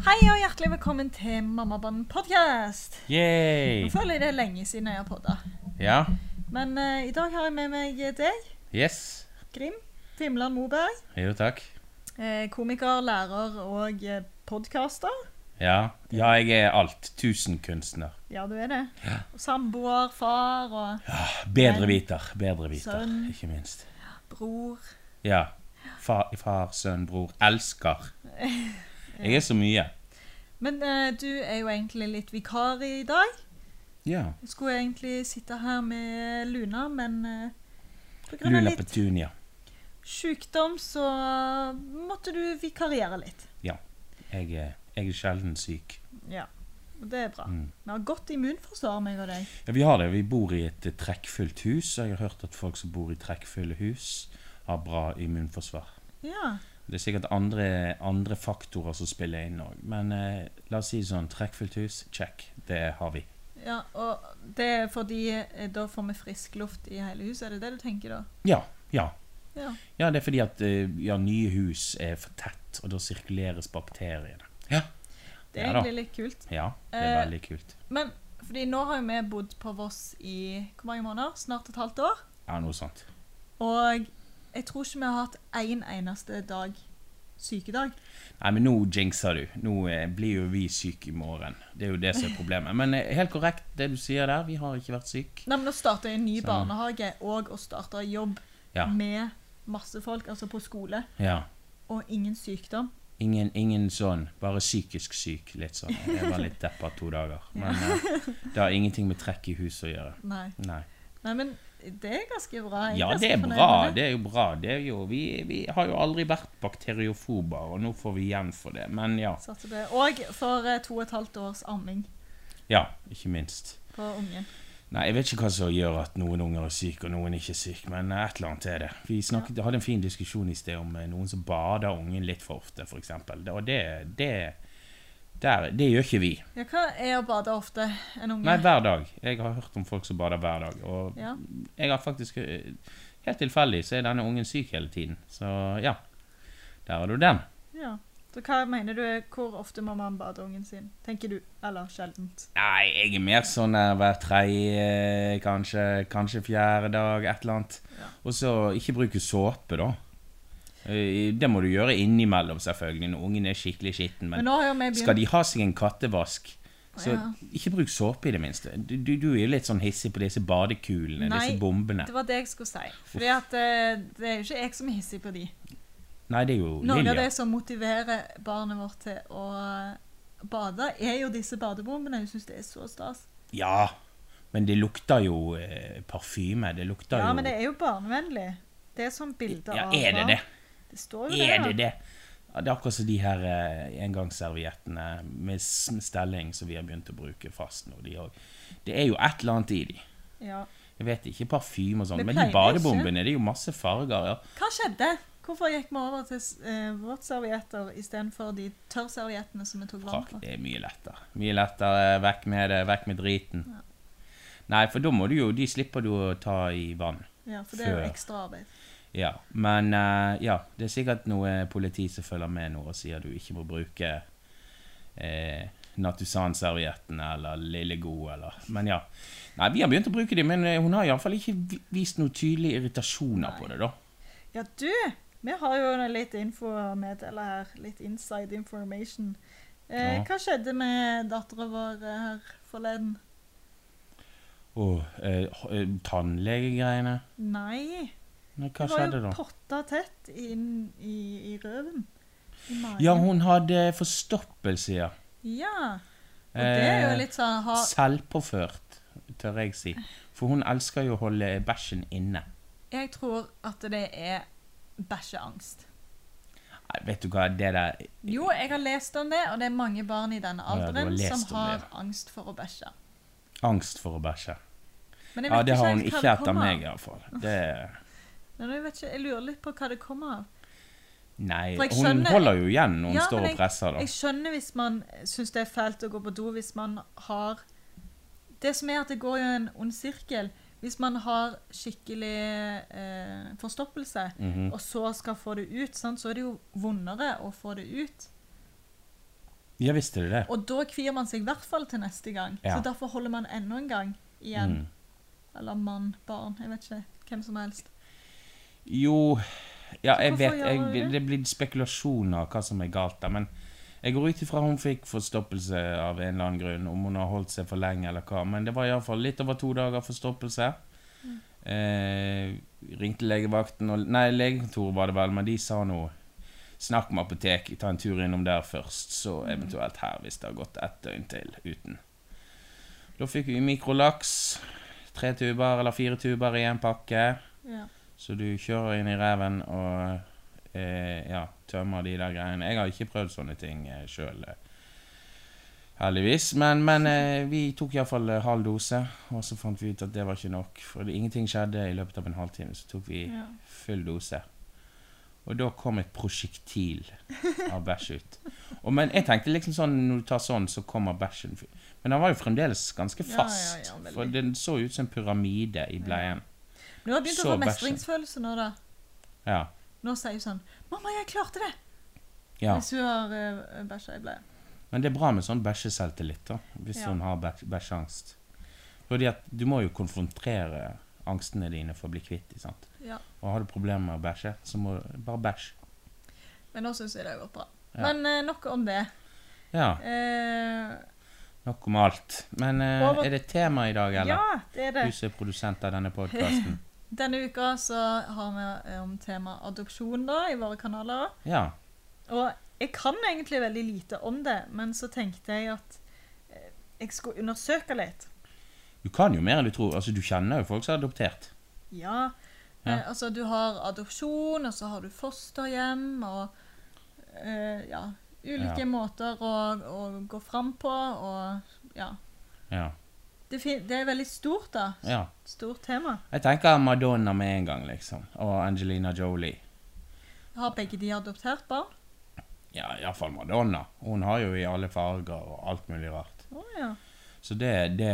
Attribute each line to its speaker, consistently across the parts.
Speaker 1: Hjertelig velkommen til Mammabånd podcast.
Speaker 2: Yay!
Speaker 1: Nå føler jeg det er lenge siden jeg har podda.
Speaker 2: Ja.
Speaker 1: Men eh, i dag har jeg med meg eh, deg,
Speaker 2: Yes.
Speaker 1: Grim Fimland Moberg.
Speaker 2: Jo, takk.
Speaker 1: eh, komiker, lærer og eh, podcaster.
Speaker 2: Ja. ja, jeg er alt. Tusenkunstner.
Speaker 1: Ja, du er det. Og Samboer, far og
Speaker 2: Bedreviter. Bedreviter,
Speaker 1: Sønn.
Speaker 2: ikke minst.
Speaker 1: bror.
Speaker 2: Ja. Far, far sønn, bror. Elsker. Jeg er så mye.
Speaker 1: Men eh, du er jo egentlig litt vikar i dag.
Speaker 2: Ja.
Speaker 1: Jeg skulle egentlig sitte her med Luna, men eh, på grunn av
Speaker 2: Luna
Speaker 1: litt
Speaker 2: Petunia.
Speaker 1: sykdom så måtte du vikariere litt.
Speaker 2: Jeg er, jeg er sjelden syk.
Speaker 1: Ja, og det er bra.
Speaker 2: Mm.
Speaker 1: Vi har godt immunforsvar, meg og deg.
Speaker 2: Ja, vi har det. Vi bor i et eh, trekkfullt hus. og Jeg har hørt at folk som bor i trekkfulle hus, har bra immunforsvar.
Speaker 1: Ja.
Speaker 2: Det er sikkert andre, andre faktorer som spiller inn òg, men eh, la oss si sånn trekkfullt hus, check. Det har vi.
Speaker 1: ja, og det er fordi eh, da får vi frisk luft i hele huset, er det det du tenker da?
Speaker 2: Ja. Ja.
Speaker 1: Ja.
Speaker 2: ja det er fordi at eh, ja, nye hus er for tett, og da sirkuleres bakteriene. Ja.
Speaker 1: Det er
Speaker 2: Ja da.
Speaker 1: egentlig litt kult.
Speaker 2: ja det er
Speaker 1: Eh,
Speaker 2: veldig kult.
Speaker 1: Men fordi nå har jo vi bodd på Voss i hvor mange måneder? Snart et halvt år.
Speaker 2: Ja, noe sånt.
Speaker 1: Og jeg tror ikke vi har hatt én eneste dag sykedag.
Speaker 2: Nei, men nå jinxer du. Nå eh, blir jo vi syke i morgen. Det er jo det som er problemet. Men eh, helt korrekt det du sier der. Vi har ikke vært syke.
Speaker 1: Nei, men å starte en ny
Speaker 2: Så-
Speaker 1: barnehage og å starte jobb
Speaker 2: Sånn. Ja.
Speaker 1: med masse folk, altså på skole,
Speaker 2: Ja.
Speaker 1: og ingen sykdom.
Speaker 2: Ingen, ingen sånn, bare psykisk syk, litt sånn. Jeg var litt deppa to dager. Men eh, det har ingenting med trekk i huset å gjøre.
Speaker 1: Nei.
Speaker 2: Nei.
Speaker 1: Nei, men det er ganske bra. Jeg
Speaker 2: Ja,
Speaker 1: ganske
Speaker 2: det er
Speaker 1: fornøyd
Speaker 2: bra.
Speaker 1: med
Speaker 2: Det er jo bra. Det er jo, vi, vi har jo aldri vært bakteriofober, og nå får vi igjen for det. Men ja.
Speaker 1: Satser på det. Og for eh, to og et halvt års amming
Speaker 2: Ja, ikke minst.
Speaker 1: på ungen.
Speaker 2: Nei, jeg vet ikke hva som gjør at noen unger er syke og noen ikke er syke, men eh, et eller annet er det. Vi snakket, hadde en fin diskusjon i sted om eh, noen som bader ungen litt for ofte, f.eks. Og det, det, der, det gjør ikke vi.
Speaker 1: Ja, hva er å bade ofte? En unge?
Speaker 2: Nei, hver dag. Jeg har hørt om folk som bader hver dag. Og
Speaker 1: Ja.
Speaker 2: jeg har faktisk eh, Helt tilfeldig så er denne ungen syk hele tiden. Så ja. Der har du den.
Speaker 1: ja. Så hva mener du, er- hvor ofte må man bade ungen sin? Tenker du, eller sjeldent?
Speaker 2: Nei, jeg er mer sånn eh, hver tredje, eh, kanskje, kanskje fjerde dag, et eller annet.
Speaker 1: Ja.
Speaker 2: Og så ikke bruke såpe, da. Eh, Det må du gjøre innimellom, selvfølgelig, når ungen er skikkelig skitten.
Speaker 1: Men
Speaker 2: Men
Speaker 1: nå har jo vi
Speaker 2: skal
Speaker 1: begynt
Speaker 2: de ha seg en kattevask, så
Speaker 1: Ja.
Speaker 2: ikke bruk såpe, i det minste. Du, du, du er jo litt sånn hissig på disse badekulene,
Speaker 1: Nei,
Speaker 2: disse bombene.
Speaker 1: Det var det jeg skulle si. Fordi at eh, det er jo ikke jeg som er hissig på de.
Speaker 2: Nei, det er jo
Speaker 1: Noe av
Speaker 2: Lilja.
Speaker 1: det som motiverer barnet vårt til å eh, bade, er jo disse badebombene. Jeg syns det er så stas.
Speaker 2: Ja, men det lukter jo eh, parfyme. Det lukter
Speaker 1: Ja,
Speaker 2: jo
Speaker 1: men det er jo barnevennlig. Det er sånn bilde
Speaker 2: Ja,
Speaker 1: av
Speaker 2: er det
Speaker 1: barn.
Speaker 2: det?
Speaker 1: Det står jo det,
Speaker 2: Er
Speaker 1: da.
Speaker 2: det det? Ja, det er akkurat som de her eh, engangsserviettene med s- med stelling som vi har begynt å bruke fast nå. De òg. Det er jo et eller annet i de.
Speaker 1: Ja.
Speaker 2: Jeg vet ikke parfyme og sånn,
Speaker 1: Det
Speaker 2: men de
Speaker 1: pleier
Speaker 2: badebombene, det er jo masse farger. ja.
Speaker 1: Hva skjedde? Hvorfor gikk vi over til eh, våtservietter istedenfor de tørrserviettene som vi tok vann
Speaker 2: Fuck,
Speaker 1: på?
Speaker 2: det er mye lettere. Mye lettere, eh, vekk med det, vekk med driten. Nei, for da må du jo De slipper du å ta i vann.
Speaker 1: Ja, for det er jo
Speaker 2: Før.
Speaker 1: ekstra arbeid.
Speaker 2: Ja, men eh, ja, det er sikkert noe politi som følger med nå og sier du ikke må bruke eh, Natusan-serviettene eller Lille God eller Men ja. Nei, vi har begynt å bruke dem, men eh, hun har iallfall ikke vi- vist noen tydelige irritasjoner på det, da.
Speaker 1: Ja, du! Vi har jo litt info å meddele her. Litt inside information. Eh,
Speaker 2: Ja.
Speaker 1: Hva skjedde med dattera vår eh, her forleden?
Speaker 2: Og eh, h- eh, tannlegegreiene.
Speaker 1: Nei.
Speaker 2: Nei, hva
Speaker 1: Hun var
Speaker 2: skjedde
Speaker 1: jo
Speaker 2: da?
Speaker 1: potta tett inn i, i røven. I magen.
Speaker 2: Ja, hun hadde forstoppelse, ja.
Speaker 1: Ja. Og det er jo
Speaker 2: Eh,
Speaker 1: litt sånn ha,
Speaker 2: Selvpåført, tør jeg si. For hun elsker jo å holde bæsjen inne.
Speaker 1: Jeg tror at det er bæsjeangst.
Speaker 2: Nei, vet du hva, det der
Speaker 1: Jo, jeg har lest om det, og det er mange barn i denne
Speaker 2: Ja, du har
Speaker 1: alderen
Speaker 2: lest
Speaker 1: som
Speaker 2: om
Speaker 1: har
Speaker 2: det,
Speaker 1: angst for å bæsje.
Speaker 2: Angst for å bæsje.
Speaker 1: Men jeg
Speaker 2: Ja,
Speaker 1: vet
Speaker 2: det har hun
Speaker 1: helt hva
Speaker 2: ikke
Speaker 1: det
Speaker 2: etter
Speaker 1: kommer av.
Speaker 2: meg, iallfall. Det
Speaker 1: Men jeg, vet ikke, jeg lurer litt på hva det kommer av.
Speaker 2: Nei,
Speaker 1: For jeg
Speaker 2: hun
Speaker 1: skjønner-
Speaker 2: holder jo igjen når hun
Speaker 1: Ja,
Speaker 2: står
Speaker 1: men
Speaker 2: og presser, da.
Speaker 1: Jeg skjønner hvis man syns det er fælt å gå på do hvis man har Det som er at det går jo en ond sirkel. Hvis man har skikkelig eh, forstoppelse,
Speaker 2: Mhm.
Speaker 1: og så skal få det ut, sant, så er det jo vondere å få det ut.
Speaker 2: Ja visst er det det.
Speaker 1: Og da kvier man seg i hvert fall til neste gang.
Speaker 2: Ja.
Speaker 1: Så derfor holder man enda en gang igjen.
Speaker 2: Mm.
Speaker 1: Eller mann, barn, jeg vet ikke. Hvem som helst.
Speaker 2: Jo Ja, jeg
Speaker 1: hvorfor
Speaker 2: vet
Speaker 1: gjør
Speaker 2: jeg,
Speaker 1: man det?
Speaker 2: Det blir spekulasjoner hva som er galt der, men jeg går ut ifra hun fikk forstoppelse av en eller annen grunn, om hun har holdt seg for lenge eller hva, men det var iallfall litt over to dager forstoppelse.
Speaker 1: Mm.
Speaker 2: Eh, ringte legevakten og Nei, legekontoret var det vel, men de sa nå Snakk med apoteket, ta en tur innom der først, så
Speaker 1: Mm.
Speaker 2: eventuelt her hvis det har gått ett døgn til uten. Da fikk vi mikrolaks. Tre tuber eller fire tuber i én pakke.
Speaker 1: Ja.
Speaker 2: Så du kjører inn i reven og eh, ja, tømmer de der greiene. Jeg har ikke prøvd sånne ting eh, sjøl, eh, heldigvis. Men, men eh, vi tok iallfall eh, halv dose, og så fant vi ut at det var ikke nok. For det, ingenting skjedde i løpet av en halvtime, så tok vi
Speaker 1: Ja.
Speaker 2: full dose. Og da kom et prosjektil av bæsj ut. Og, men jeg tenkte liksom sånn, når du tar sånn, så kommer bæsjen f- Men den var jo fremdeles ganske
Speaker 1: Ja, ja,
Speaker 2: fast.
Speaker 1: ja, veldig.
Speaker 2: for den så ut som en pyramide i bleien.
Speaker 1: Men Nå har jeg begynt
Speaker 2: Så
Speaker 1: å få
Speaker 2: bæsjen.
Speaker 1: mestringsfølelse nå, da.
Speaker 2: Ja.
Speaker 1: Nå sier hun sånn 'Mamma, jeg klarte det!'
Speaker 2: ja.
Speaker 1: Hvis hun har uh, bæsja i bleia.
Speaker 2: Men det er bra med sånn bæsjeselvtillit, da, hvis
Speaker 1: Ja.
Speaker 2: hun har bæ- bæsjeangst. Fordi at du må jo konfrontere angstene dine for å bli kvitt dem, sant.
Speaker 1: Ja.
Speaker 2: Og har du problemer med å bæsje, så må du bare bæsj.
Speaker 1: Men nå syns jeg det har gått bra.
Speaker 2: Ja.
Speaker 1: Men eh, nok om det.
Speaker 2: Ja,
Speaker 1: Eh,
Speaker 2: nok om alt. Men eh,
Speaker 1: Over-
Speaker 2: er det et tema i dag, eller?
Speaker 1: ja, det er det.
Speaker 2: Du som er produsent av denne podkasten.
Speaker 1: Denne uka så har vi eh, om tema adopsjon da, i våre kanaler.
Speaker 2: Ja.
Speaker 1: Og jeg kan egentlig veldig lite om det, men så tenkte jeg at eh, jeg skulle undersøke litt.
Speaker 2: Du kan jo mer enn du tror. Altså, du kjenner jo folk som er adoptert.
Speaker 1: Ja,
Speaker 2: Ja.
Speaker 1: Eh, altså du har adopsjon, og så har du fosterhjem, og eh, ja, ulike
Speaker 2: Ja.
Speaker 1: måter å, å gå fram på, og ja.
Speaker 2: Ja.
Speaker 1: Det, fin det er veldig stort da,
Speaker 2: ja.
Speaker 1: stort tema.
Speaker 2: Jeg tenker Madonna med en gang, liksom. Og Angelina Jolie.
Speaker 1: Har begge de adoptert barn?
Speaker 2: Ja, iallfall Madonna. Hun har jo i alle farger og alt mulig rart.
Speaker 1: Å ja.
Speaker 2: Så det, det,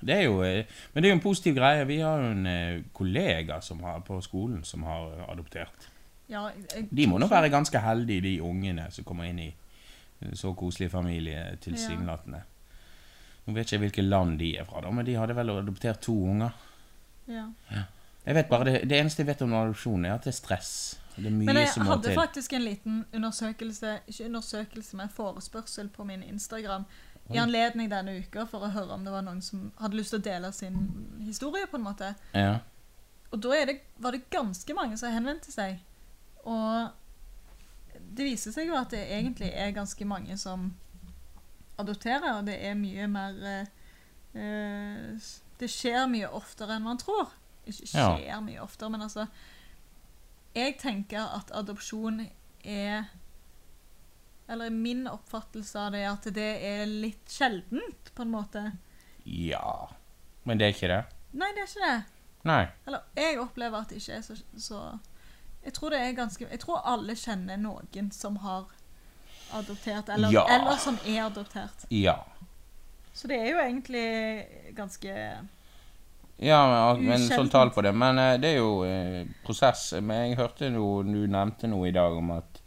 Speaker 2: det er jo eh, Men det er jo en positiv greie. Vi har jo en eh, kollega som har, på skolen som har eh, adoptert.
Speaker 1: ja jeg,
Speaker 2: De må nå være ganske heldige, de ungene som kommer inn i eh, så koselig familie, tilsynelatende. Nå vet ikke jeg hvilke land de er fra, da, men de hadde vel adoptert to unger.
Speaker 1: ja.
Speaker 2: Jeg vet bare, Det, det eneste jeg vet om adopsjon, er at det er stress. Det er mye
Speaker 1: Men jeg
Speaker 2: som må
Speaker 1: hadde
Speaker 2: til.
Speaker 1: faktisk en liten undersøkelse, ikke undersøkelse, men forespørsel på min Instagram
Speaker 2: Oi.
Speaker 1: i anledning denne uka for å høre om det var noen som hadde lyst til å dele sin historie, på en måte.
Speaker 2: Ja.
Speaker 1: Og da er det, var det ganske mange som henvendte seg. Og det viser seg jo at det egentlig er ganske mange som adopterer, og det er mye mer eh, eh, s- Det skjer mye oftere enn man tror. Ikke
Speaker 2: Ja.
Speaker 1: skjer mye oftere, men altså Jeg tenker at adopsjon er Eller min oppfattelse av det er at det er litt sjeldent, på en måte.
Speaker 2: ja. Men det er ikke det?
Speaker 1: Nei, det er ikke det.
Speaker 2: Nei.
Speaker 1: Eller jeg opplever at det ikke er så, så Jeg tror det er ganske Jeg tror alle kjenner noen som har adoptert, eller,
Speaker 2: Ja.
Speaker 1: eller som er adoptert.
Speaker 2: Ja.
Speaker 1: Så det er jo egentlig ganske
Speaker 2: Ja, men, men sånn
Speaker 1: Usjeldent.
Speaker 2: tall på det. Men eh, det er jo eh, prosess. Men jeg hørte noe, du nevnte noe i dag om at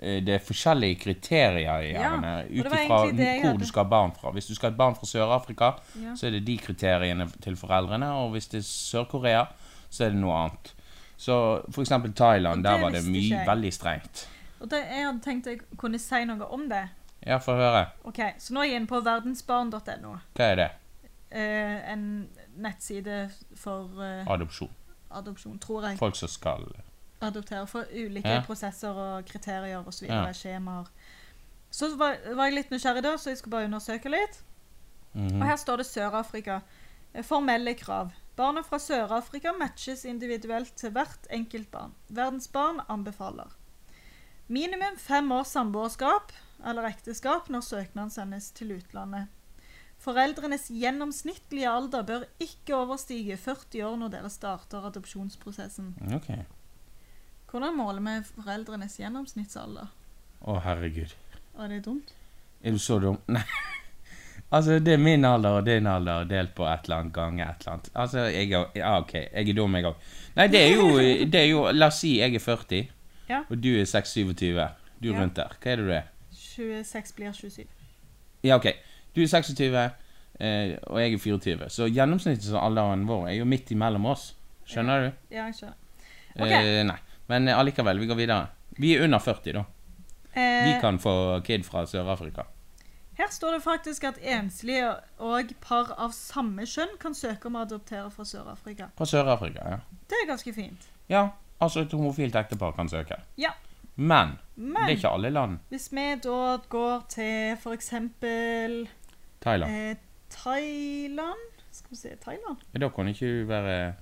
Speaker 2: eh, det er forskjellige kriterier i
Speaker 1: Ja,
Speaker 2: gjerne,
Speaker 1: og det var
Speaker 2: ut ifra
Speaker 1: egentlig det jeg
Speaker 2: hvor
Speaker 1: hadde.
Speaker 2: du skal ha barn fra. Hvis du skal ha et barn fra Sør-Afrika,
Speaker 1: Ja.
Speaker 2: så er det de kriteriene til foreldrene. Og hvis det er Sør-Korea, så er det noe annet. Så for eksempel
Speaker 1: Og
Speaker 2: Thailand,
Speaker 1: det
Speaker 2: der var det
Speaker 1: visste ikke
Speaker 2: mye
Speaker 1: jeg.
Speaker 2: veldig strengt.
Speaker 1: Og det, jeg hadde tenkt jeg kunne si noe om det.
Speaker 2: Ja, få høre.
Speaker 1: Ok, Så nå er jeg inne på verdensbarn.no.
Speaker 2: Hva er det?
Speaker 1: Eh, en nettside for eh,
Speaker 2: Adopsjon.
Speaker 1: adopsjon, tror jeg.
Speaker 2: Folk som skal
Speaker 1: adoptere for ulike
Speaker 2: Ja.
Speaker 1: prosesser og kriterier og så
Speaker 2: Ja.
Speaker 1: videre, skjemaer. Så var, var jeg litt nysgjerrig da, så jeg skulle bare undersøke litt. Og
Speaker 2: mhm.
Speaker 1: her står det Sør-Afrika. Eh, Formelle krav. Barna fra Sør-Afrika matches individuelt til hvert enkelt barn. Verdens barn anbefaler. Minimum fem års samboerskap eller ekteskap når søknaden sendes til utlandet. Foreldrenes gjennomsnittlige alder bør ikke overstige 40 år når dere starter adopsjonsprosessen.
Speaker 2: Ok.
Speaker 1: Hvordan måler vi foreldrenes gjennomsnittsalder?
Speaker 2: Å, herregud.
Speaker 1: Er det dumt?
Speaker 2: Er du så dum? Nei. Altså, det er min alder og din alder delt på et eller annet gange et eller annet. Altså, jeg er Ja, OK. Jeg er dum, jeg òg. Nei, det er, jo, det er jo La oss si jeg er 40,
Speaker 1: Ja.
Speaker 2: og du er 26-27. Du er
Speaker 1: Ja.
Speaker 2: rundt der. Hva er det du er?
Speaker 1: 26 blir 27.
Speaker 2: Ja, ok. Du er 26, eh, og jeg er 24. Så gjennomsnittsalderen vår er jo midt imellom oss. Skjønner du?
Speaker 1: Ja, jeg skjønner. Ok.
Speaker 2: Eh, nei. Men eh, allikevel, vi går videre. Vi er under 40, da. Vi
Speaker 1: Eh,
Speaker 2: kan få kid fra Sør-Afrika.
Speaker 1: Her står det faktisk at enslige og par av samme kjønn kan søke om å adoptere fra Sør-Afrika.
Speaker 2: Fra Sør-Afrika, ja.
Speaker 1: Det er ganske fint.
Speaker 2: Ja, altså et homofilt ektepar kan søke.
Speaker 1: Ja.
Speaker 2: Men det er
Speaker 1: Men
Speaker 2: ikke alle land.
Speaker 1: hvis vi da går til f.eks.
Speaker 2: Thailand.
Speaker 1: Eh, Thailand Skal vi se Thailand?
Speaker 2: Men Da kan ikke du være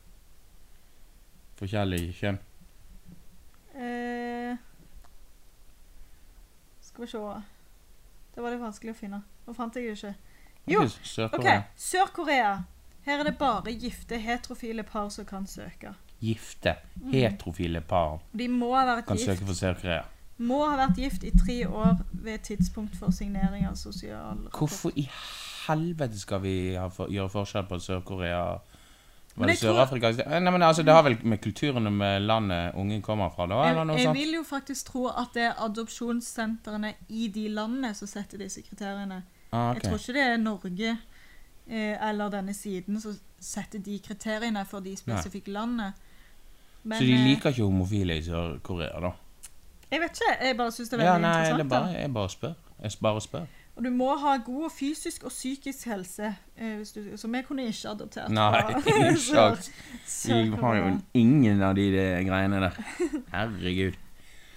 Speaker 2: forskjellig kjønn.
Speaker 1: Eh, skal vi se Det var litt vanskelig å finne. Nå fant jeg det ikke. Jo,
Speaker 2: Ok,
Speaker 1: OK.
Speaker 2: Sør-Korea.
Speaker 1: Sør-Korea. Her er det bare gifte, heterofile par som kan søke.
Speaker 2: Gifte, heterofile par
Speaker 1: De må ha vært
Speaker 2: kan
Speaker 1: gift
Speaker 2: søke for Sør-Korea.
Speaker 1: må ha vært gift i tre år ved tidspunkt for signering av sosial rapport.
Speaker 2: Hvorfor i helvete skal vi ha for, gjøre forskjell på Sør-Korea
Speaker 1: Men
Speaker 2: Var det
Speaker 1: jeg tror-
Speaker 2: Sør-Afrika? Eh, Nei, men altså, Det har vel med kulturen og med landet ungen kommer fra, da? Eller
Speaker 1: Jeg,
Speaker 2: noe
Speaker 1: jeg
Speaker 2: sånt?
Speaker 1: vil jo faktisk tro at det er adopsjonssentrene i de landene som setter disse kriteriene.
Speaker 2: Ah, ok.
Speaker 1: Jeg tror ikke det er Norge eh, eller denne siden som setter de kriteriene for de spesifikke landene. Men
Speaker 2: Så de
Speaker 1: eh,
Speaker 2: liker ikke homofile i Sør-Korea, da?
Speaker 1: jeg vet ikke. Jeg bare syns det er veldig
Speaker 2: Ja, nei, det er
Speaker 1: interessant.
Speaker 2: bare, jeg bare spør. Jeg s- bare spør.
Speaker 1: da. Og du må ha god fysisk og psykisk helse. Eh, hvis du, så vi kunne ikke adoptert
Speaker 2: Nei,
Speaker 1: fra
Speaker 2: ikke
Speaker 1: Sør-
Speaker 2: sant. Vi har jo
Speaker 1: Sør-Korea.
Speaker 2: ingen av de eh, greiene der. Herregud.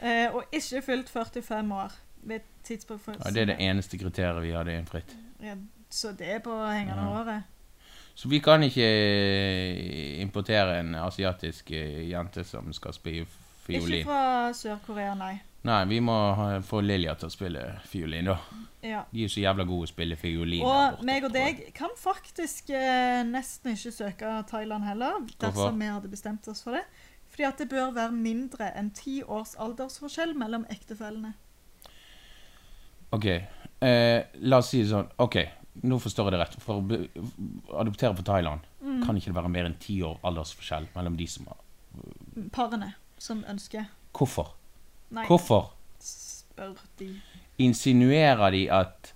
Speaker 1: Eh, og ikke fylt 45 år ved tidspunkt for
Speaker 2: Ja, det er det eneste kriteriet vi hadde innfritt.
Speaker 1: Ja, Så det er på hengende
Speaker 2: Ja.
Speaker 1: håret.
Speaker 2: Så vi kan ikke eh, importere en asiatisk eh, jente som skal spille
Speaker 1: Ikke
Speaker 2: fiolin.
Speaker 1: fra Sør-Korea, nei.
Speaker 2: Nei, vi må ha- få Lilja til å spille fiolin, da.
Speaker 1: Ja.
Speaker 2: De er jo så jævla gode å spille fiolin. der
Speaker 1: Og
Speaker 2: borte,
Speaker 1: meg og
Speaker 2: tror jeg.
Speaker 1: deg kan faktisk eh, nesten ikke søke Thailand heller, dersom vi hadde bestemt oss for det. Fordi at det bør være mindre enn ti års aldersforskjell mellom ektefellene.
Speaker 2: Ok, eh, la oss si det sånn. Ok, nå forstår jeg det rett. For å be- adoptere på Thailand
Speaker 1: Mm.
Speaker 2: kan ikke det være mer enn ti år aldersforskjell mellom de som har
Speaker 1: Parene som ønsker.
Speaker 2: Hvorfor?
Speaker 1: Nei,
Speaker 2: Hvorfor?
Speaker 1: spør de.
Speaker 2: insinuerer de at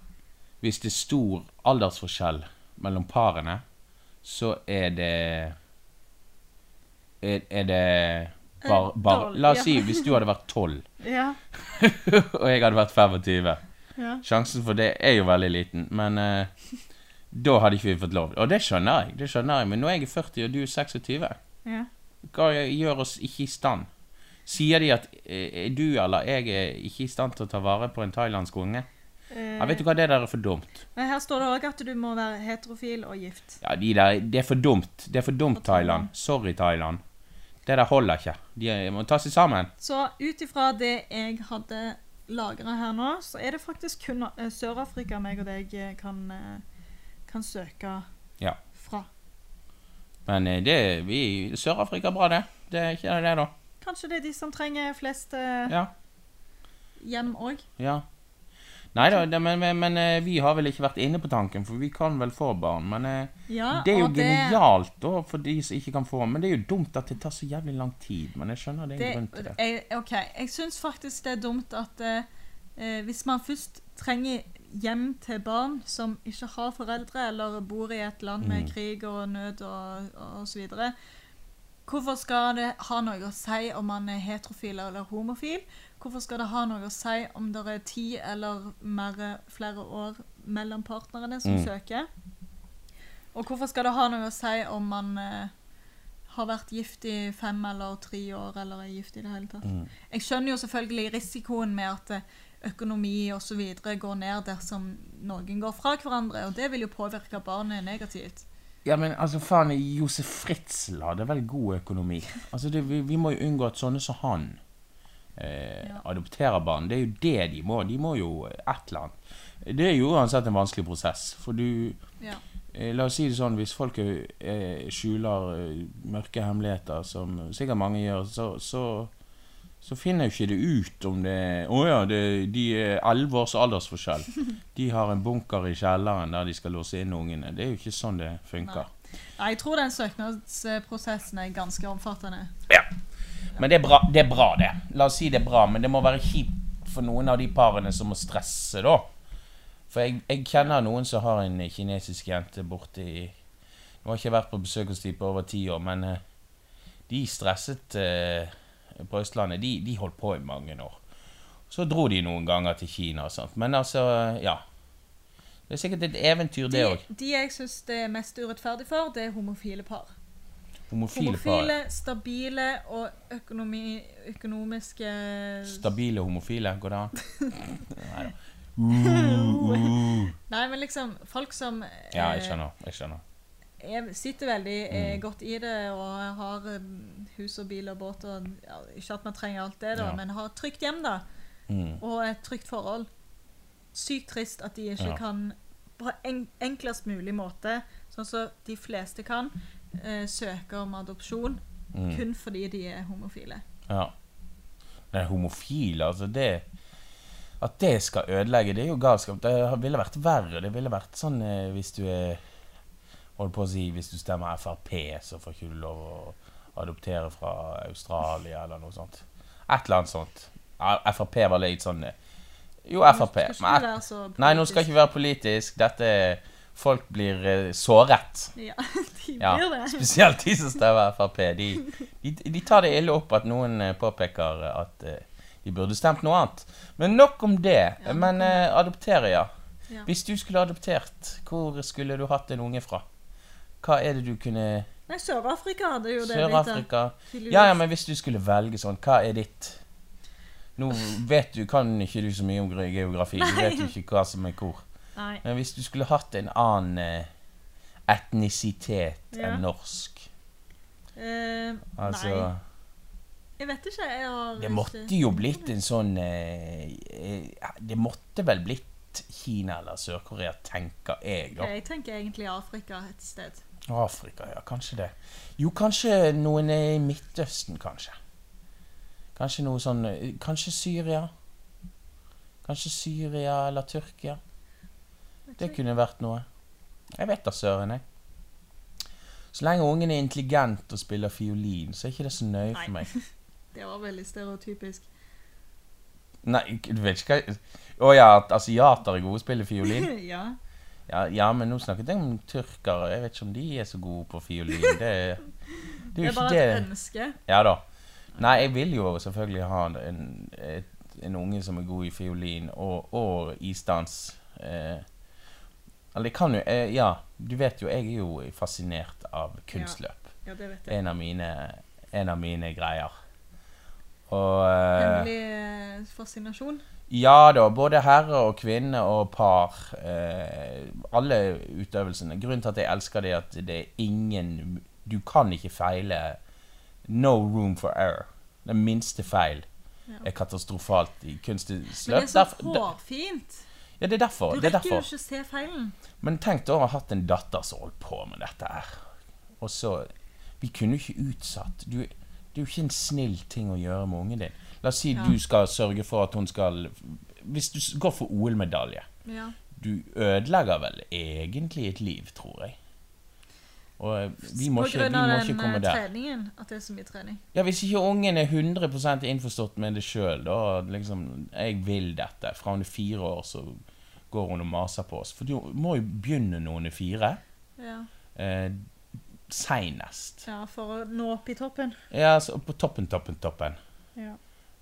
Speaker 2: hvis det er stor aldersforskjell mellom parene, så er det Er, er det bare,
Speaker 1: Eh,
Speaker 2: bare
Speaker 1: dårlig,
Speaker 2: La
Speaker 1: ja.
Speaker 2: oss si hvis du hadde vært 12,
Speaker 1: Ja.
Speaker 2: og jeg hadde vært 25.
Speaker 1: ja.
Speaker 2: Sjansen for det er jo veldig liten, men eh, da hadde ikke vi fått lov. Og det skjønner jeg, det skjønner jeg, men nå er jeg 40, og du er 26.
Speaker 1: ja.
Speaker 2: Hva gjør oss ikke i stand? Sier de at eh, du eller jeg er ikke i stand til å ta vare på en thailandsk unge?
Speaker 1: Eh,
Speaker 2: Ja, vet du hva, det der er for dumt.
Speaker 1: men her står det òg at du må være heterofil og gift.
Speaker 2: Ja, de der, det er for dumt. Det er for dumt,
Speaker 1: Og Thailand.
Speaker 2: Thailand. Sorry, Thailand. Det der holder ikke. De er- må ta seg sammen.
Speaker 1: Så ut ifra det jeg hadde lagra her nå, så er det faktisk kun eh, Sør-Afrika meg og deg eh, kan, eh, kan søke
Speaker 2: Ja.
Speaker 1: fra.
Speaker 2: Men eh, det vi Sør-Afrika er bra, det. Det er ikke det, da.
Speaker 1: Kanskje det er de som trenger flest eh,
Speaker 2: Ja.
Speaker 1: hjem òg.
Speaker 2: ja. Nei da, det- men, men, men eh, vi har vel ikke vært inne på tanken, for vi kan vel få barn. Men eh,
Speaker 1: Ja,
Speaker 2: det er jo
Speaker 1: og
Speaker 2: genialt da, for de som ikke kan få. Men det er jo dumt at det tar så jævlig lang tid. Men jeg skjønner det er
Speaker 1: det,
Speaker 2: en grunn til det.
Speaker 1: jeg, OK. Jeg syns faktisk det er dumt at eh, eh, hvis man først trenger hjem til barn som ikke har foreldre, eller bor i et land med
Speaker 2: Mm.
Speaker 1: krig og nød og, og så videre Hvorfor skal det ha noe å si om man er heterofil eller homofil? Hvorfor skal det ha noe å si om det er ti eller mer, flere år mellom partnerne som
Speaker 2: Mm.
Speaker 1: søker? Og hvorfor skal det ha noe å si om man eh, har vært gift i fem eller tre år, eller er gift i det hele tatt?
Speaker 2: Mm.
Speaker 1: Jeg skjønner jo selvfølgelig risikoen med at eh, økonomi osv. går ned dersom noen går fra hverandre, og det vil jo påvirke barnet negativt.
Speaker 2: Ja, men altså, faen, Josef Fritzl hadde vel god økonomi. Altså, det, vi, vi må jo unngå at sånne som han eh,
Speaker 1: Ja.
Speaker 2: adopterer barn. Det er jo det de må. De må jo eh, et eller annet. Det er jo uansett en vanskelig prosess, for du
Speaker 1: Ja.
Speaker 2: eh, La oss si det sånn, hvis folk eh, skjuler eh, mørke hemmeligheter, som sikkert mange gjør, så, så, så finner jo ikke det ut om det Å ja, det, de er elleve års aldersforskjell. De har en bunker i kjelleren der de skal låse inn ungene. Det er jo ikke sånn det funker.
Speaker 1: Nei, jeg tror den søknadsprosessen er ganske omfattende.
Speaker 2: Ja. Men det er bra, det. er bra det. La oss si det er bra, men det må være kjipt for noen av de parene som må stresse, da. For jeg, jeg kjenner noen som har en kinesisk jente borte i Nå har jeg ikke vært på besøk hos de på over ti år, men eh, de stresset eh, på Østlandet. De, de holdt på i mange år. Så dro de noen ganger til Kina og sånt. Men altså, ja. Det er sikkert et eventyr, det òg.
Speaker 1: De, de jeg syns det er mest urettferdig for, det er homofile par.
Speaker 2: Homofile par.
Speaker 1: Homofile, stabile og økonomi, økonomiske
Speaker 2: Stabile homofile, går det an? Nei da.
Speaker 1: Nei, men liksom folk som eh,
Speaker 2: Ja, jeg skjønner. Jeg skjønner.
Speaker 1: er- sitter veldig eh,
Speaker 2: Mm.
Speaker 1: godt i det og har eh, hus og bil og båt og ja, Ikke at man trenger alt det, da,
Speaker 2: Ja.
Speaker 1: men har et trygt hjem, da.
Speaker 2: Mm.
Speaker 1: Og et trygt forhold. Sykt trist at de ikke
Speaker 2: Ja.
Speaker 1: kan på en, enklest mulig måte, sånn som de fleste kan, eh, søke om adopsjon
Speaker 2: Mm.
Speaker 1: kun fordi de er homofile.
Speaker 2: Ja. Men homofile, altså det At det skal ødelegge, det er jo galskap. Det har- ville vært verre. Det ville vært sånn eh, hvis du er Holdt på å si hvis du stemmer Frp, så får ikke du lov å adoptere fra Australia eller noe sånt. Et eller annet sånt. Ja, Frp var litt sånn eh, Jo, Frp.
Speaker 1: Skal ikke
Speaker 2: men-
Speaker 1: du være så
Speaker 2: Nei, nå skal jeg ikke være politisk. Dette er- Folk blir eh, såret.
Speaker 1: Ja, de
Speaker 2: Ja,
Speaker 1: blir det.
Speaker 2: Spesielt de som stemmer Frp. De, de, de tar det ille opp at noen eh, påpeker at eh, de burde stemt noe annet. Men nok om det.
Speaker 1: Ja, nok om
Speaker 2: Men eh, adoptere, ja.
Speaker 1: Ja.
Speaker 2: Hvis du skulle adoptert, hvor skulle du hatt en unge fra? Hva er det du kunne
Speaker 1: Nei, Sør-Afrika hadde jo det blitt.
Speaker 2: Sør-Afrika?
Speaker 1: da, tydeligvis.
Speaker 2: Ja, ja, men hvis du skulle velge sånn, hva er ditt Nå vet du, kan ikke du så mye om gre- geografi. Du vet jo ikke hva som er hvor.
Speaker 1: Nei.
Speaker 2: Men hvis du skulle hatt en annen eh, etnisitet
Speaker 1: Ja.
Speaker 2: enn norsk
Speaker 1: Eh,
Speaker 2: Altså
Speaker 1: nei. Jeg vet ikke. Jeg har
Speaker 2: Det måtte jo blitt en sånn eh, eh, Det måtte vel blitt Kina eller Sør-Korea, tenker jeg.
Speaker 1: Ja,
Speaker 2: da.
Speaker 1: Jeg tenker egentlig Afrika et sted.
Speaker 2: Afrika, ja. Kanskje det. Jo, kanskje noen i Midtøsten, kanskje. Kanskje noe sånn eh, Kanskje Syria? Kanskje Syria eller Tyrkia? Det kunne vært noe. Jeg vet da søren, jeg. Så lenge ungen er intelligent og spiller fiolin, så er ikke det så nøye
Speaker 1: Nei.
Speaker 2: for meg.
Speaker 1: Det var veldig stereotypisk.
Speaker 2: Nei, ikke- du vet ikke hva Å ja, at asiater er gode til å spille fiolin?
Speaker 1: ja.
Speaker 2: Ja, ja, men nå snakket jeg om tyrkere. Jeg vet ikke om de er så gode på fiolin. Det, er- det er
Speaker 1: Det
Speaker 2: jo
Speaker 1: er
Speaker 2: ikke
Speaker 1: bare et
Speaker 2: det.
Speaker 1: ønske.
Speaker 2: Ja da. Nei, jeg vil jo selvfølgelig ha en, et, en unge som er god i fiolin og, og isdans. Eh, eller det kan jo eh, Ja, du vet jo, jeg er jo fascinert av kunstløp.
Speaker 1: Ja, det vet
Speaker 2: Det er
Speaker 1: jeg.
Speaker 2: En, av mine, en av mine greier. Og eh,
Speaker 1: Hemmelig eh, fascinasjon.
Speaker 2: Ja da, både herre og kvinne og par. Eh, alle utøvelsene. Grunnen til at jeg elsker det, er at det er ingen Du kan ikke feile. No room for error. Den minste feil
Speaker 1: Ja.
Speaker 2: er katastrofalt i
Speaker 1: Men det
Speaker 2: kunstløp.
Speaker 1: er så
Speaker 2: Derfor- der-
Speaker 1: hårfint.
Speaker 2: Ja, det er derfor.
Speaker 1: Du
Speaker 2: Det er
Speaker 1: rekker jo
Speaker 2: derfor.
Speaker 1: ikke å se feilen.
Speaker 2: Men tenk da å ha hatt en datter som holdt på med dette her. Og så Vi kunne jo ikke utsatt du, Det er jo ikke en snill ting å gjøre med ungen din. La oss si
Speaker 1: Ja.
Speaker 2: du skal sørge for at hun skal Hvis du s- går for OL-medalje
Speaker 1: Ja.
Speaker 2: Du ødelegger vel egentlig et liv, tror jeg. Og eh, vi må
Speaker 1: På
Speaker 2: ikke, vi
Speaker 1: grunn av
Speaker 2: må
Speaker 1: den
Speaker 2: ikke komme
Speaker 1: eh,
Speaker 2: der.
Speaker 1: treningen. At det er så mye trening.
Speaker 2: Ja, Hvis ikke ungen er 100 innforstått med det sjøl, da liksom 'Jeg vil dette.' Fra hun er fire år, så går hun og maser på oss. For du må jo begynne når hun er fire.
Speaker 1: Ja.
Speaker 2: Eh, Seinest.
Speaker 1: ja, for å nå opp i toppen.
Speaker 2: Ja, så på toppen, toppen, toppen.
Speaker 1: Ja.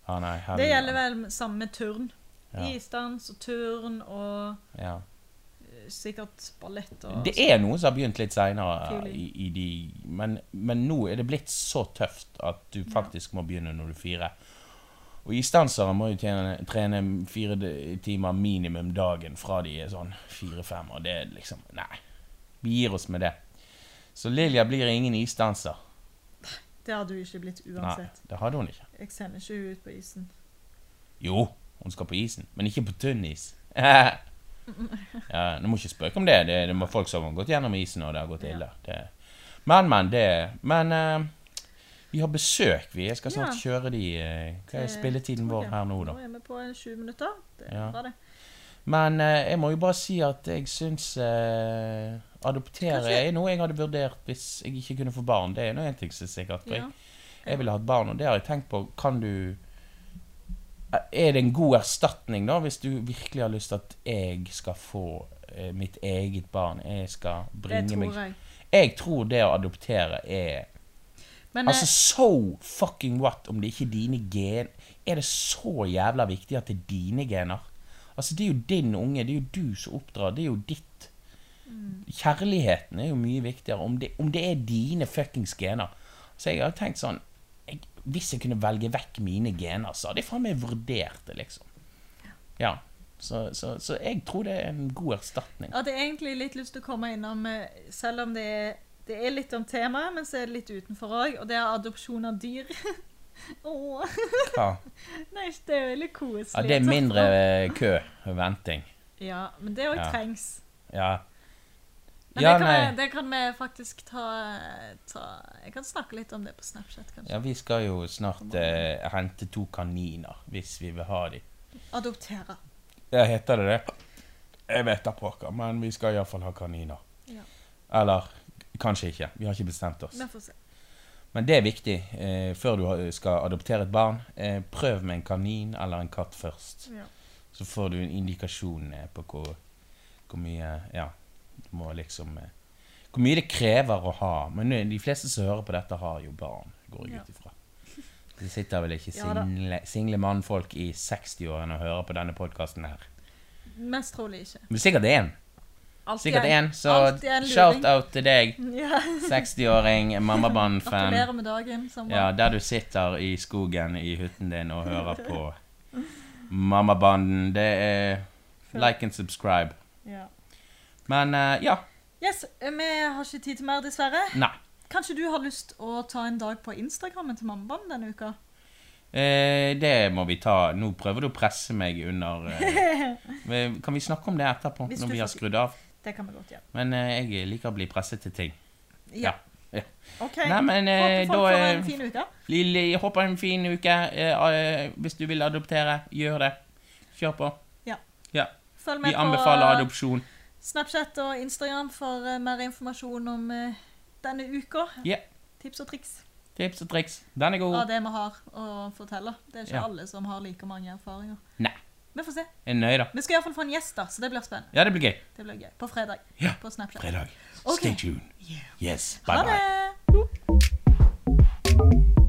Speaker 2: Ah, nei, her-
Speaker 1: Det gjelder vel samme med turn.
Speaker 2: Ja.
Speaker 1: Isdans og turn og
Speaker 2: Ja.
Speaker 1: eh, sikkert ballett og
Speaker 2: Det er noe som har begynt litt seinere,
Speaker 1: Fiolin.
Speaker 2: men, men nå er det blitt så tøft at du faktisk må begynne når du er fire. Og isdansere må jo tjene, trene fire d- timer minimum dagen fra de er sånn fire-fem, og det er liksom Nei. Vi gir oss med det. Så Lilja blir ingen isdanser.
Speaker 1: Det hadde hun ikke blitt
Speaker 2: Nei,
Speaker 1: uansett.
Speaker 2: det hadde hun ikke.
Speaker 1: Jeg sender ikke hun ut på isen.
Speaker 2: Jo, hun skal på isen, men ikke på tynn is. ja, du må ikke spøke om det. Det, det er folk som har gått gjennom isen, og det har gått
Speaker 1: Ja.
Speaker 2: ille. Det. Men, men, det Men eh, vi har besøk, vi. Jeg skal snart kjøre de eh, Hva er
Speaker 1: Til
Speaker 2: spilletiden vår
Speaker 1: toget.
Speaker 2: her nå, da?
Speaker 1: Nå er vi på en 20 minutter. Det er
Speaker 2: Ja.
Speaker 1: bra, det.
Speaker 2: Men eh, jeg må jo bare si at jeg syns eh, Adoptere
Speaker 1: Kanskje-
Speaker 2: er noe jeg hadde vurdert hvis jeg ikke kunne få barn. Det er nå en ting som er sikkert. for
Speaker 1: Ja.
Speaker 2: Jeg, jeg ville hatt barn, og det har jeg tenkt på. Kan du er det en god erstatning, da, hvis du virkelig har lyst til at jeg skal få eh, mitt eget barn? Jeg skal
Speaker 1: Det
Speaker 2: bringe
Speaker 1: tror
Speaker 2: meg
Speaker 1: jeg.
Speaker 2: Jeg tror det å adoptere er
Speaker 1: Men
Speaker 2: Altså,
Speaker 1: eh,
Speaker 2: so fucking what om det ikke er dine gen... Er det så jævla viktig at det er dine gener? Altså, det er jo din unge, det er jo du som oppdrar, det er jo ditt.
Speaker 1: Mm.
Speaker 2: Kjærligheten er jo mye viktigere om det, om det er dine fuckings gener. Så jeg har tenkt sånn jeg, Hvis jeg kunne velge vekk mine gener, så hadde jeg faen meg vurdert det, liksom. Ja. Så, så, så jeg tror det er en god erstatning.
Speaker 1: jeg hadde egentlig litt lyst til å komme innom, eh, selv om det er, det er litt om temaet, men så er det litt utenfor òg, og det er adopsjon av dyr. Åh,
Speaker 2: Ja,
Speaker 1: nei, det er veldig koselig.
Speaker 2: ja det er mindre eh, kø og venting.
Speaker 1: Ja, men det òg
Speaker 2: Ja.
Speaker 1: trengs.
Speaker 2: Ja.
Speaker 1: Men
Speaker 2: Ja,
Speaker 1: det, kan
Speaker 2: nei.
Speaker 1: vi, det kan vi faktisk ta, eh, ta Jeg kan snakke litt om det på Snapchat, kanskje.
Speaker 2: Ja, vi skal jo snart eh, hente to kaniner, hvis vi vil ha dem.
Speaker 1: Adoptere.
Speaker 2: Ja, heter det det? Jeg vet da pokker, men vi skal iallfall ha kaniner.
Speaker 1: Ja.
Speaker 2: Eller kanskje ikke. Vi har ikke bestemt oss.
Speaker 1: Vi får se.
Speaker 2: Men det er viktig eh, før du har- skal adoptere et barn. Eh, prøv med en kanin eller en katt først.
Speaker 1: Ja.
Speaker 2: Så får du en indikasjon eh, på hvor, hvor mye Ja, du må liksom eh, Hvor mye det krever å ha. Men eh, de fleste som hører på dette, har jo barn, går jeg
Speaker 1: Ja.
Speaker 2: ut ifra. Det sitter vel ikke
Speaker 1: Ja da.
Speaker 2: single, single mannfolk i 60-årene og hører på denne podkasten her.
Speaker 1: Mest trolig ikke.
Speaker 2: Men sikkert én.
Speaker 1: Alltid
Speaker 2: Sikkert
Speaker 1: en.
Speaker 2: én. Så
Speaker 1: Alltid en luring.
Speaker 2: shout-out til deg,
Speaker 1: Ja.
Speaker 2: 60-åring, mammaband-fan.
Speaker 1: Gratulerer med dagen. Som
Speaker 2: Ja,
Speaker 1: ja.
Speaker 2: der du sitter i skogen i hytten din og hører på Mammabanden. Det er like and subscribe.
Speaker 1: Ja.
Speaker 2: Men eh, ja.
Speaker 1: Yes, vi har ikke tid til mer, dessverre.
Speaker 2: Nei.
Speaker 1: Kanskje du har lyst å ta en dag på Instagrammen til mammaen denne uka?
Speaker 2: Eh, det må vi ta. Nå prøver du å presse meg under eh, men Kan vi snakke om det etterpå,
Speaker 1: Hvis
Speaker 2: når
Speaker 1: du
Speaker 2: vi har
Speaker 1: får-
Speaker 2: skrudd av?
Speaker 1: Det kan vi godt gjøre.
Speaker 2: Men eh, jeg liker å bli presset til ting.
Speaker 1: Ja.
Speaker 2: Ja.
Speaker 1: OK.
Speaker 2: Nei, men eh,
Speaker 1: Håper folk
Speaker 2: da
Speaker 1: får
Speaker 2: eh,
Speaker 1: en fin uke.
Speaker 2: Lille, jeg håper en fin uke. Eh, eh, hvis du vil adoptere, gjør det. Kjør på.
Speaker 1: Ja.
Speaker 2: ja.
Speaker 1: Følg
Speaker 2: Vi
Speaker 1: med
Speaker 2: anbefaler
Speaker 1: på
Speaker 2: adopsjon.
Speaker 1: Snapchat og Instagram for eh, mer informasjon om eh, denne uka.
Speaker 2: Ja.
Speaker 1: Tips og triks.
Speaker 2: Tips og triks. Den er god.
Speaker 1: av det vi har å fortelle. Det er ikke
Speaker 2: Ja.
Speaker 1: alle som har like mange erfaringer.
Speaker 2: Nei.
Speaker 1: Vi får se.
Speaker 2: Jeg er nøye, da.
Speaker 1: Vi skal iallfall få en gjest, da, så det blir spennende.
Speaker 2: Ja, det blir gøy.
Speaker 1: Det blir gøy. På fredag.
Speaker 2: Ja.
Speaker 1: På Snapchat.
Speaker 2: Fredag.
Speaker 1: Ok.
Speaker 2: Stay tuned. Yes. Bye
Speaker 1: Ha
Speaker 2: bye.
Speaker 1: det!